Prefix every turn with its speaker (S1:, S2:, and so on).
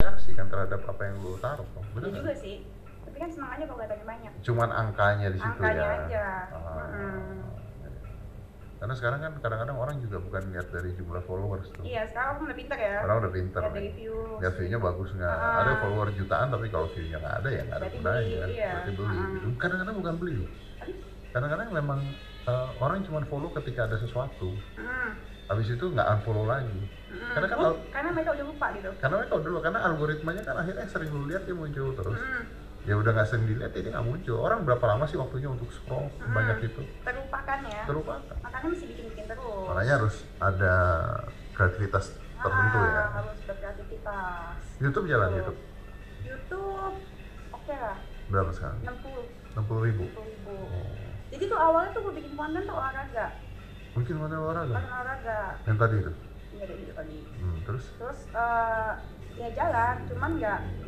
S1: kan terhadap apa yang lu taruh dong,
S2: Iya
S1: bener nggak?
S2: juga sih. Tapi kan semangatnya pengobatan banyak.
S1: Cuman angkanya di situ
S2: Angkanya
S1: ya.
S2: aja.
S1: Ah.
S2: Mm-mm.
S1: Karena sekarang kan kadang-kadang orang juga bukan lihat dari jumlah followers tuh.
S2: Iya, sekarang aku udah pinter ya.
S1: Orang udah pinter.
S2: Lihat dari
S1: nih.
S2: views.
S1: Lihat view-nya bagus nggak?
S2: Ah.
S1: Ada follower jutaan tapi kalau view-nya nggak ada ya nggak ada
S2: Berarti
S1: gunanya.
S2: beli,
S1: kan?
S2: iya.
S1: Berarti beli.
S2: Ah.
S1: gitu. Kadang-kadang bukan beli. loh. Kadang-kadang memang eh, orang cuma follow ketika ada sesuatu.
S2: Mm-mm.
S1: Habis itu nggak unfollow lagi.
S2: Mm-mm.
S1: Karena kan
S2: Oh,
S1: al-
S2: karena mereka udah lupa gitu.
S1: Karena mereka udah dulu karena algoritmanya kan akhirnya sering lu lihat dia muncul terus.
S2: Mm-mm.
S1: Ya udah nggak sering dilihat ya dia nggak muncul. Orang berapa lama sih waktunya untuk scroll
S2: Hmm.
S1: banyak itu?
S2: Terlupakan ya.
S1: Terlupakan.
S2: Makanya mesti bikin-bikin terus.
S1: Makanya harus ada kreativitas tertentu
S2: Ah,
S1: ya.
S2: Harus berkreativitas.
S1: YouTube jalan
S2: Betul.
S1: YouTube
S2: YouTube oke lah,
S1: berapa sekarang?
S2: 60
S1: 60 ribu.
S2: ribu.
S1: Oh.
S2: Jadi tuh awalnya tuh gue bikin konten tuh olahraga,
S1: Mungkin mana olahraga?
S2: konten olahraga.
S1: Yang tadi itu.
S2: Iya dari itu tadi.
S1: Hmm, terus
S2: Terus eh ya jalan, cuman nggak